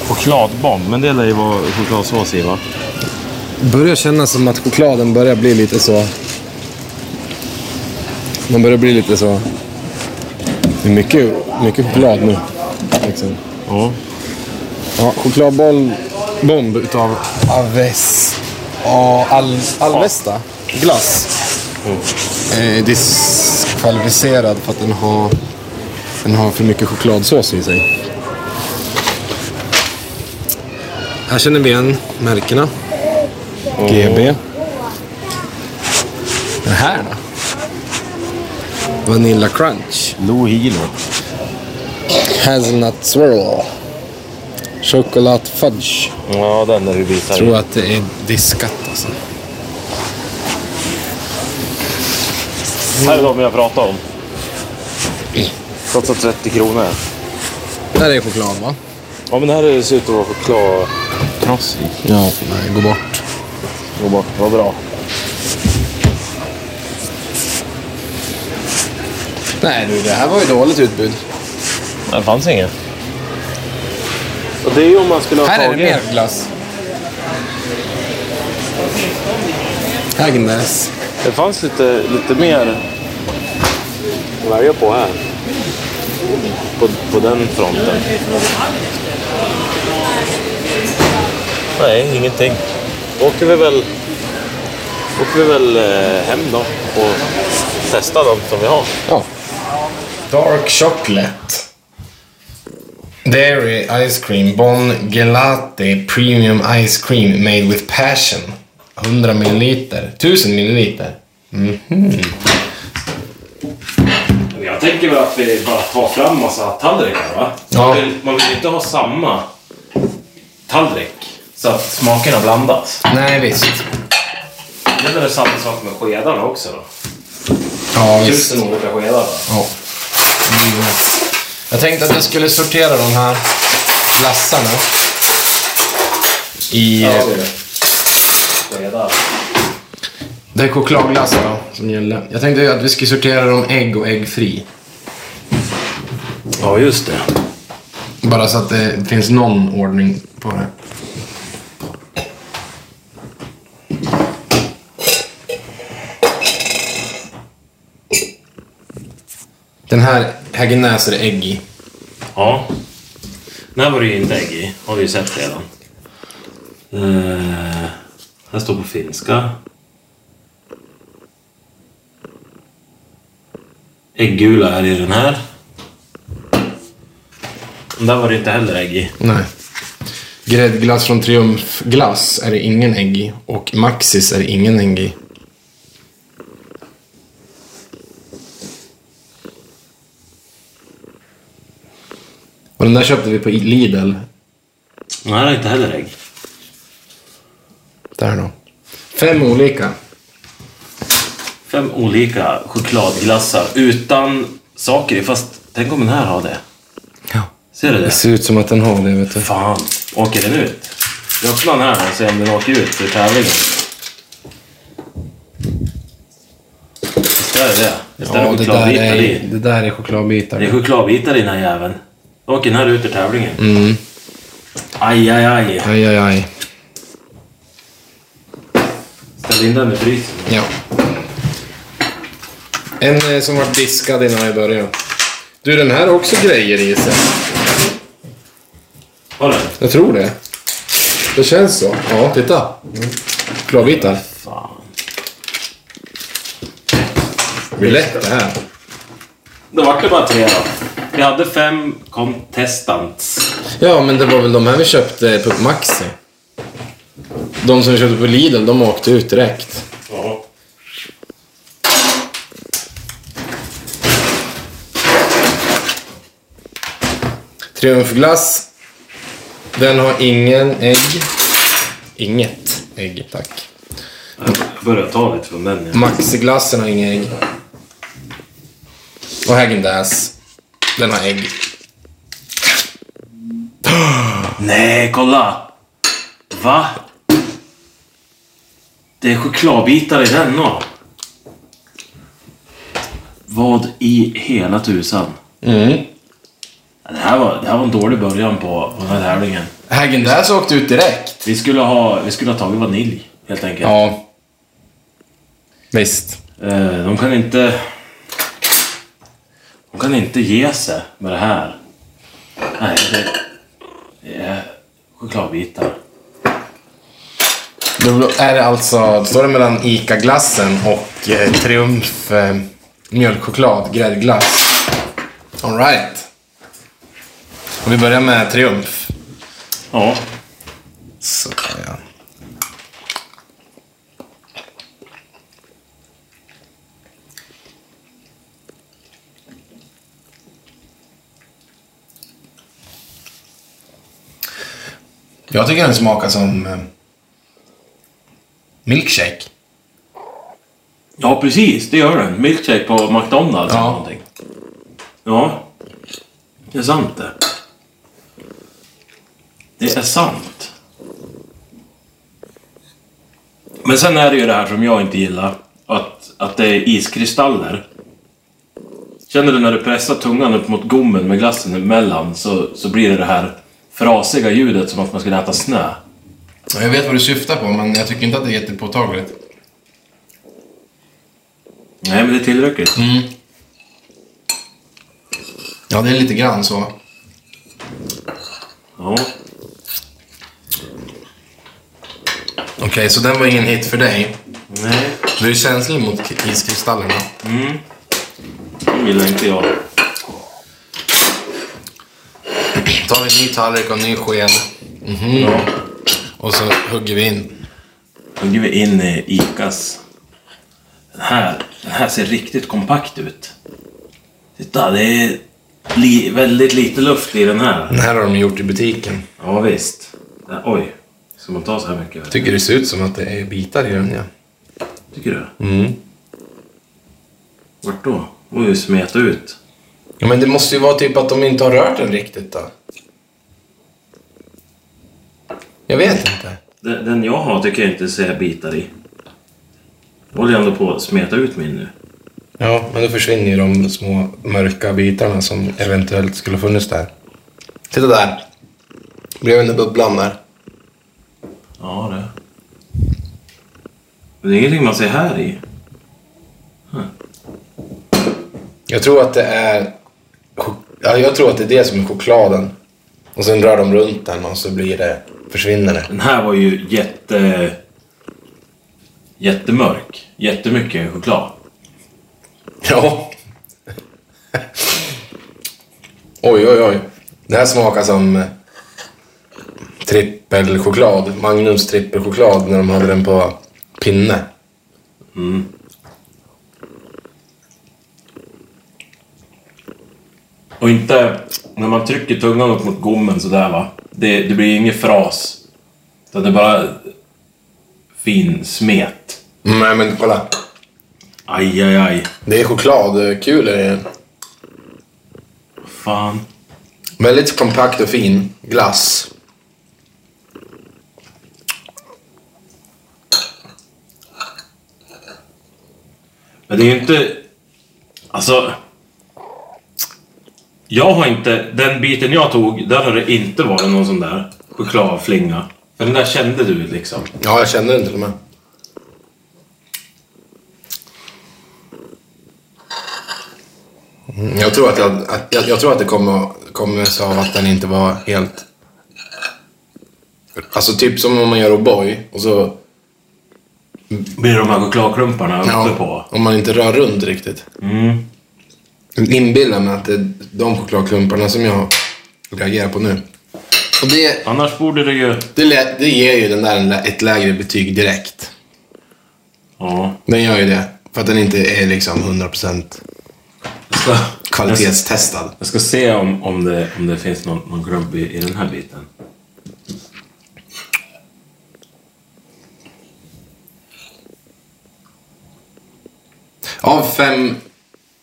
S2: Chokladbomb, men det lär ju vara chokladsås i va?
S4: Börjar kännas som att chokladen börjar bli lite så... Den börjar bli lite så... Det är mycket, mycket choklad nu. Liksom.
S2: Ja.
S4: Ja, chokladboll... Bomb utav Aves... Och Al, Alvesta. Glass. Eh, diskvalificerad för att den har... Den har för mycket chokladsås i sig. Här känner vi igen märkena. GB. Den här då? Vanilla crunch.
S2: Lou Hilo.
S4: Hazelnut swirl. Chocolate fudge.
S2: Ja, den där du visar.
S4: tror att det är diskat alltså.
S2: Här är de jag pratade om. Kostar 30 kronor.
S4: Där är choklad va?
S2: Ja, men det här ser ut att vara choklad... Krossig.
S4: Ja. Nej, gå bort.
S2: Gå bort, vad bra.
S4: Nej du, det här var ju dåligt utbud.
S2: Det fanns inget. Och det är ju om man skulle ha
S4: Här är det
S2: tagit...
S4: mer glass. Agnes.
S2: Det fanns lite, lite mer att välja på här. På, på den fronten. Nej, ingenting. Då åker vi väl, åker vi väl eh, hem då och testar de som vi har.
S1: Dark chocolate. Dairy ice cream. Bon gelati premium ice cream made with passion. 100 milliliter. 1000 milliliter.
S2: Jag tänker väl att vi bara tar fram massa tallrikar va?
S1: Ja.
S2: Man, vill, man vill inte ha samma tallrik så att smakerna blandas.
S1: Nej, visst.
S2: Det är väl samma sak med skedarna också då.
S1: Ja, visst.
S2: Tusen olika skedar va?
S1: Ja. Mm. Jag tänkte att jag skulle sortera de här glassarna i... eh,
S2: Ja, det är det. Skedar.
S1: Det är chokladglass då, som gäller. Jag tänkte att vi skulle sortera dem ägg och äggfri.
S2: Ja, just det.
S1: Bara så att det finns någon ordning på det. Den här Häggenäs är det ägg i.
S2: Ja. Den här var det ju inte ägg i. Har vi ju sett redan. Eh, här står på finska. Ägggula är i den här. Den där var det inte heller ägg i.
S1: Nej. Gräddglass från Triumf Glass är det ingen ägg i. Och Maxis är det ingen ägg i. Och den där köpte vi på Lidl.
S2: Den här är inte heller ägg.
S1: Där då. Fem olika.
S2: Fem olika chokladglassar utan saker i. Fast tänk om den här har det.
S1: Ja.
S2: Ser du det?
S1: Det ser ut som att den har det, vet du.
S2: Fan, åker den ut? Vi öppnar den här och ser om den åker ut ur tävlingen. Visst är det det? Visst är
S1: Ja,
S2: det
S1: det där
S2: chokladbitar
S1: är,
S2: i?
S1: det där är
S2: Det är
S1: chokladbitar.
S2: chokladbitar i den här jäveln. Då åker den här ut ur tävlingen.
S1: Mm.
S2: Aj, aj, aj.
S1: Aj, aj, aj.
S2: Ställ in den i frysen.
S1: Ja. En eh, som var diskad innan jag började. Du, den här har också grejer i sig.
S2: Har den?
S1: Jag tror det. Det känns så. Ja, titta. Mm. Chokladbitar.
S2: Fan.
S1: Det blir lätt det här.
S2: Då vart det bara tre då. Vi hade fem contestants.
S1: Ja, men det var väl de här vi köpte på Maxi. De som vi köpte på Lidl, de åkte ut direkt. Triumfglass. Den har ingen ägg. Inget ägg, tack.
S2: Jag började ta lite från den. Ja.
S1: Maxiglassen har inga ägg. Och häagen dazs Den har ägg.
S2: Nej, kolla! Va? Det är chokladbitar i den då. Vad i hela tusan? Ja, Det, här var, det här var en dålig början på, på den här tävlingen.
S1: häagen dazs åkte ut direkt.
S2: Vi skulle ha, vi skulle ha tagit vanilj helt enkelt.
S1: Ja. Visst.
S2: Eh, De kan inte... De kan inte ge sig med det här. Nej, det det är chokladbitar.
S1: Då är det alltså, då står det mellan ICA-glassen och eh, Triumf eh, mjölkchoklad, gräddglass. Alright. Och vi börjar med Triumf.
S2: Ja.
S1: Så, ja. Jag tycker den smakar som eh, milkshake.
S2: Ja, precis. Det gör den. Milkshake på McDonalds
S1: Ja.
S2: eller någonting. Ja. Det är sant det. Det är sant. Men sen är det ju det här som jag inte gillar. Att, att det är iskristaller. Känner du när du pressar tungan upp mot gommen med glassen emellan så, så blir det det här frasiga ljudet som att man skulle äta snö.
S1: Ja, Jag vet vad du syftar på, men jag tycker inte att det är jättepåtagligt.
S2: Nej, men det är tillräckligt.
S1: Ja, det är lite grann så.
S2: Ja.
S1: Okej, så den var ingen hit för dig.
S2: Nej,
S1: Du är känslig mot k- iskristallerna.
S2: det gillar inte jag.
S1: tar vi en ny tallrik och en ny sked. Mhm. Och så hugger vi in.
S2: Nu går vi in i Icas. Den här, den här ser riktigt kompakt ut. Titta, det är li, väldigt lite luft i den här.
S1: Den här har de gjort i butiken.
S2: Ja, visst. Den, oj, ska man ta så här mycket?
S1: Tycker det ser ut som att det är bitar i den, ja.
S2: Tycker du? Mm. Vart då? Oj, ju smeta ut.
S1: ja. Men det måste ju vara typ att de inte har rört den riktigt då. Jag vet inte.
S2: Den, den jag har tycker jag inte ser bitar i. Jag håller ändå på att smeta ut min nu.
S1: Ja, men då försvinner ju de små mörka bitarna som eventuellt skulle ha funnits där. Titta där. Blev under bubblan där.
S2: Ja, det. Men det är ingenting man ser här i.
S1: Jag tror att det är... chok- Ja, jag tror att det är det som är chokladen. Och sen rör de runt den och så blir det... Försvinner det.
S2: Den här var ju jätte... Jättemörk. Jättemycket choklad.
S1: Ja. oj, oj, oj. Det här smakar som eh, trippelchoklad. Magnums trippelchoklad när de hade den på pinne.
S2: Och inte... När man trycker tungan upp mot gommen sådär va. Det, det blir ingen fras. Utan det är bara... Fin smet.
S1: Nej, men kolla.
S2: Aj, aj, aj.
S1: Det är eh, chokladkulor i den.
S2: Fan.
S1: Väldigt kompakt och fin glass.
S2: Men det är ju inte... Alltså... Jag har inte... Den biten jag tog, där har det inte varit någon sån där chokladflinga. För den där kände du liksom.
S1: Ja, jag känner den till och med. Mm, Jag tror att, jag, att, jag, jag tror att det kommer, kommer sig av att den inte var helt... Alltså typ som om man gör O'boy och så...
S2: Blir de här chokladklumparna uppe
S1: Ja,
S2: på.
S1: om man inte rör runt riktigt.
S2: Mm.
S1: inbillar mig att det är de chokladklumparna som jag reagerar på nu. Och det,
S2: Annars borde det ju...
S1: det, lä- det ger ju den där en lä- ett lägre betyg direkt.
S2: Ja.
S1: Den gör ju det. För att den inte är liksom 100% kvalitetstestad.
S2: Jag ska se om, om, det, om det finns någon, någon grump i, i den här biten.
S1: Av fem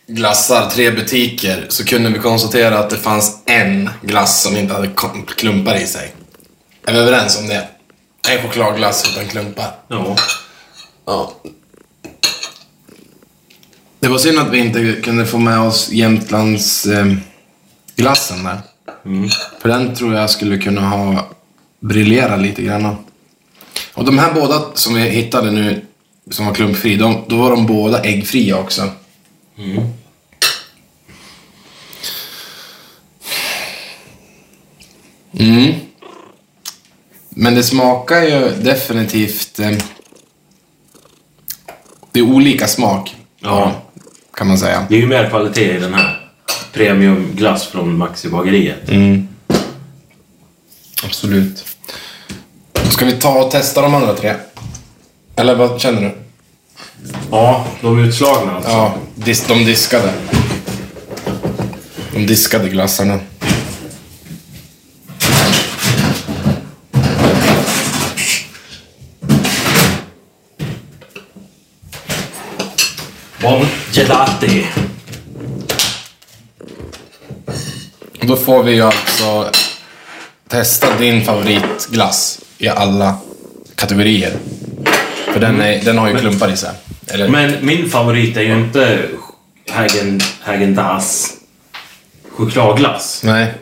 S1: glassar, tre butiker, så kunde vi konstatera att det fanns en glass som inte hade kom- klumpar i sig. Är vi överens om det? En chokladglass utan klumpar.
S2: Ja.
S1: Ja. Det var synd att vi inte kunde få med oss Jämtlands eh, glassen där. För den tror jag skulle kunna ha briljera lite grann. Och de här båda som vi hittade nu, som var klumpfri, de, då var de båda äggfria också. Mm. Men det smakar ju definitivt... Eh, det är olika smak.
S2: Ja.
S1: Kan man säga.
S2: Det är ju mer kvalitet i den här. Premiumglass från Maxibageriet.
S1: Absolut. Ska vi ta och testa de andra tre? Eller vad känner du?
S2: Ja, de utslagna alltså.
S1: Ja, dis- de diskade. De diskade glassarna.
S2: Bon gelati.
S1: Och Då får vi ju alltså testa din favoritglass i alla kategorier. För den, är, den har ju klumpar i sig. Eller?
S2: Men min favorit är ju inte Hägen- Häagen-Dazs chokladglass.
S1: Nej.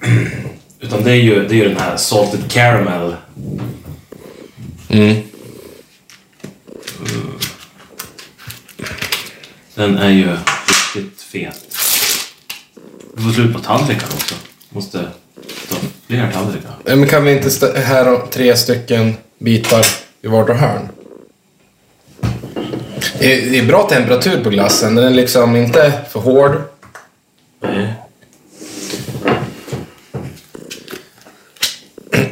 S2: Utan det är ju, det är ju den här Salted Caramel. Mm. Den är ju riktigt fet. Vi får slut på tallrikar också. Måste ta fler tallrikar.
S1: Eh, Men kan vi inte stä- här har tre stycken bitar i vardera hörn? Det är, det är bra temperatur på glassen. Den är liksom inte för hård.
S2: Nej.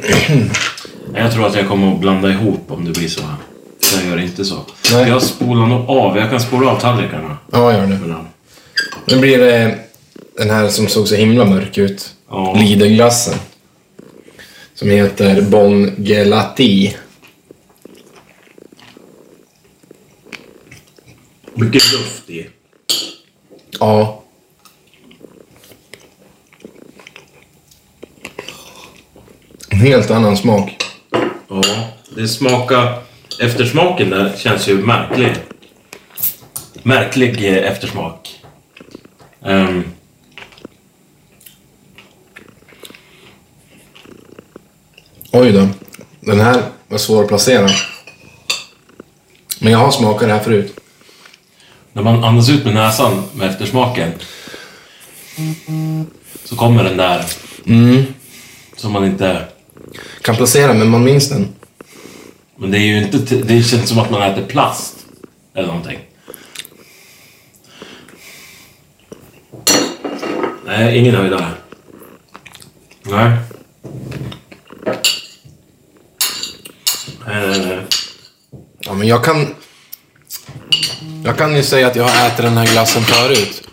S2: Jag tror att jag kommer att blanda ihop om det blir så här. Så jag gör inte så.
S1: Nej.
S2: Jag spolar nog av. Jag kan spola av tallrikarna.
S1: Ja, gör det.
S2: ibland.
S1: Nu blir det den här som såg så himla mörk ut.
S2: Ja.
S1: Lidenglassen. Som heter Bon Gelati.
S2: Mycket luft i.
S1: Ja. En helt annan smak.
S2: Ja, det smakar... Eftersmaken där känns ju märklig. Märklig eh, eftersmak. Ehm.
S1: Oj då. Den här var svår att placera. Men jag har smakat det här förut.
S2: När man andas ut med näsan med eftersmaken så kommer den där som man inte...
S1: Kan placera, men man minns den.
S2: Men det är ju inte... Det känns som att man äter plast eller någonting. Nej, ingen höjdare. Nej. Nej, nej, nej.
S1: Ja, men jag kan... Jag kan ju säga att jag har ätit den här glassen förut.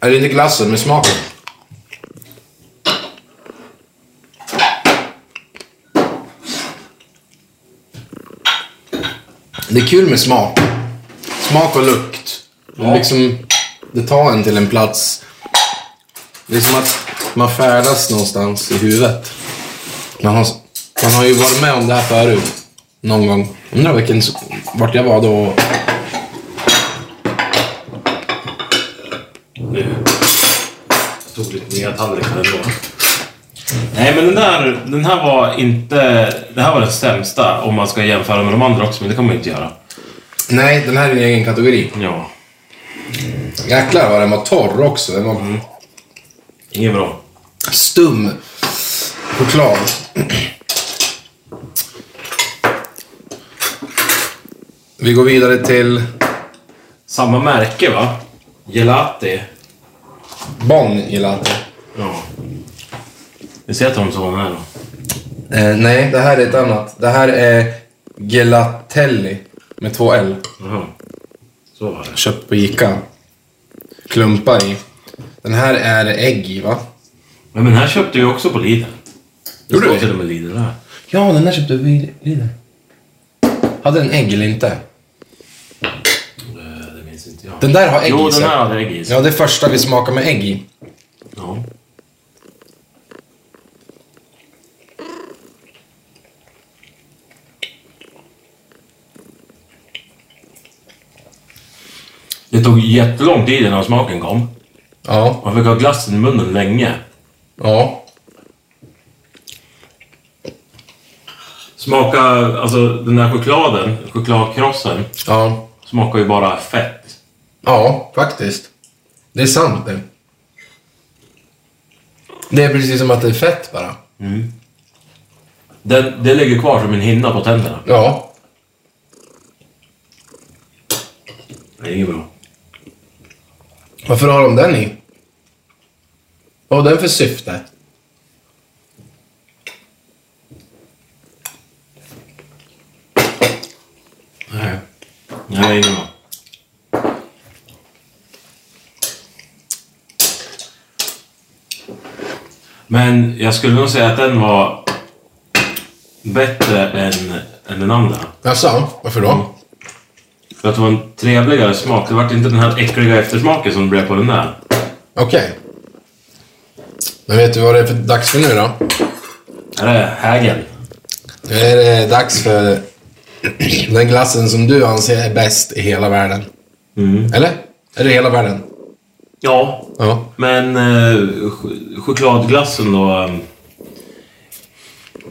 S1: Eller inte glassen, men smaken. Det är kul med smak. Smak och lukt. Det, liksom, det tar en till en plats. Det är som att man färdas någonstans i huvudet. Man har, man har ju varit med om det här förut. Någon gång. Undrar vilken, vart jag var då.
S2: Nu. Jag tog lite nya tallrikar ändå. Nej, men den där, den här var inte... Det här var den sämsta om man ska jämföra med de andra också, men det kan man ju inte göra.
S1: Nej, den här är en egen kategori.
S2: Ja,
S1: Jäklar vad den var torr också. Den var
S6: Mm.
S2: inget bra.
S1: stum choklad. Vi går vidare till
S2: Samma märke va? Gelati.
S6: Bon gillar inte.
S2: Ja. Vi ser att de som var med då.
S6: Eh, nej, det här är ett annat. Det här är Gelatelli med två L.
S2: Jaha. Så var det.
S6: Köpt på Ica. Klumpar i. Den här är ägg i, va?
S2: Men den här köpte vi också på Lidl. Det
S6: Gjorde
S2: står
S6: vi?
S2: till och med Lidl där.
S6: Ja, den där köpte vi i Lidl. Hade den ägg eller inte?
S2: Eh, Det minns inte jag.
S6: Den där har ägg
S2: jo,
S6: i sig.
S2: den här hade ägg i sig.
S6: Ja, det är första vi smakar med ägg i.
S2: Ja. Det tog jättelång tid innan smaken kom.
S6: Ja.
S2: Man fick ha glassen i munnen länge.
S6: Ja.
S2: Smaka, alltså den där chokladen, chokladkrossen,
S6: Ja.
S2: smakar ju bara fett.
S6: Ja, faktiskt. Det är sant det. Det är precis som att det är fett bara.
S2: Den, det ligger kvar som en hinna på tänderna.
S6: Ja.
S2: Det är inget bra.
S6: Varför har de den i? Vad har den för syfte?
S2: Nej. Nej, det är inget bra. Men jag skulle nog säga att den var bättre än, än den andra.
S6: Jaså, varför då?
S2: För att det var en trevligare smak. Det var inte den här äckliga eftersmaken som det blev på den där.
S6: Okej. Men vet du vad det är för dags för nu då?
S2: Är det hägen?
S6: Nu är det dags för den glassen som du anser är bäst i hela världen. Eller? Är det hela världen?
S2: Ja,
S6: Ja.
S2: Men eh, ch- chokladglassen då. eh,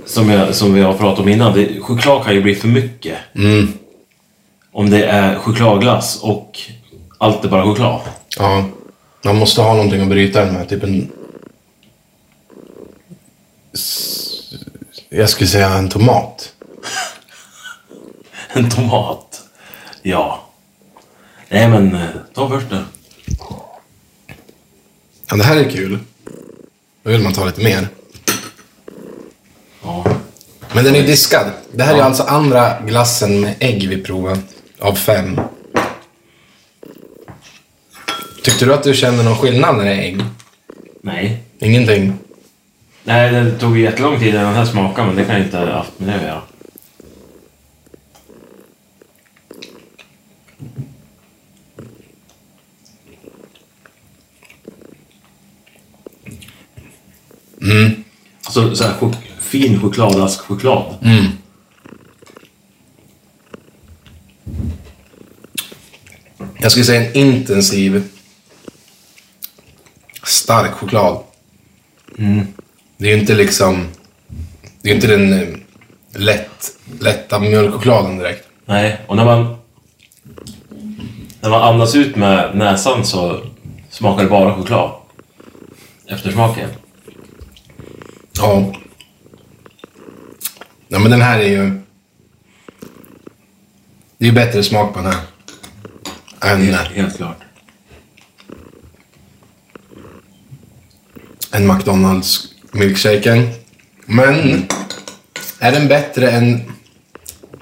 S2: Som, jag, som vi har pratat om innan. Det, choklad kan ju bli för mycket. Om det är chokladglass och allt är bara choklad.
S6: Ja. Man måste ha någonting att bryta den med. Typ en... S- Jag skulle säga en tomat.
S2: En tomat. Ja. Nej men, eh, ta först det.
S6: Ja, det här är kul. Då vill man ta lite mer.
S2: Ja.
S6: Men den är diskad. Det här är alltså andra glassen med ägg vi provar. Av fem. Tyckte du att du kände någon skillnad när det är ägg?
S2: Nej.
S6: Ingenting?
S2: Nej, det tog ju jättelång tid innan den här smakade men det kan ju inte ha haft med det att göra. Alltså så här, chok- fin chokladaskchoklad.
S6: Jag skulle säga en intensiv, stark choklad. Det är ju inte liksom... Det är ju inte den eh, lätt, lätta mjölkchokladen direkt.
S2: Nej, och när man... När man andas ut med näsan så smakar det bara choklad. Eftersmaken.
S6: Ja. Ja, men den här är ju... Det är ju bättre smak på den här. Än,
S2: Helt klart.
S6: än McDonalds milkshaken. Men... Är den bättre än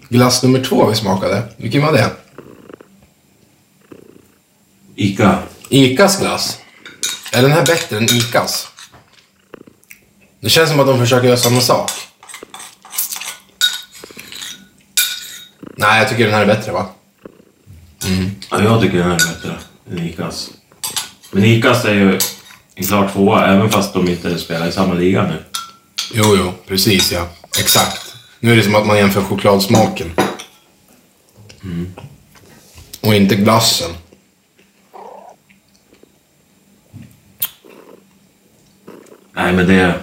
S6: glass nummer två vi smakade? Vilken var det?
S2: Ica.
S6: Icas glass. Är den här bättre än Icas? Det känns som att de försöker göra samma sak. Nej, jag tycker den här är bättre va?
S2: Ja, jag tycker den här är bättre än Icas. Men Icas är ju en klar tvåa, även fast de inte spelar i samma liga nu.
S6: Jo, jo, precis ja. Exakt. Nu är det som att man jämför chokladsmaken. Mm. Och inte glassen.
S2: Nej, men det...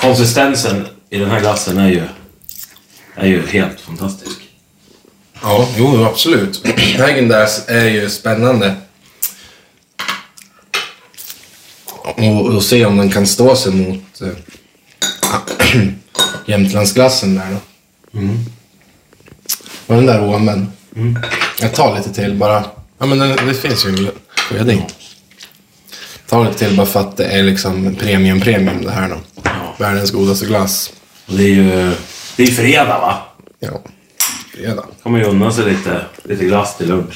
S2: Konsistensen i den här glassen är ju, är ju helt fantastisk.
S6: Ja, jo, absolut. Häagen-Dazs är ju spännande. Och, och se om den kan stå sig mot eh, Jämtlandsglassen där då. Var den där ovan? Mm. Jag tar lite till bara.
S1: Ja, men den, det finns ju en skeding. Ta lite till bara för att det är liksom premium, premium det här då. Världens godaste glass.
S2: Och det är ju... Det är ju fredag va?
S1: Ja. Fredag.
S2: kan man ju unna sig lite, lite glass till lunch.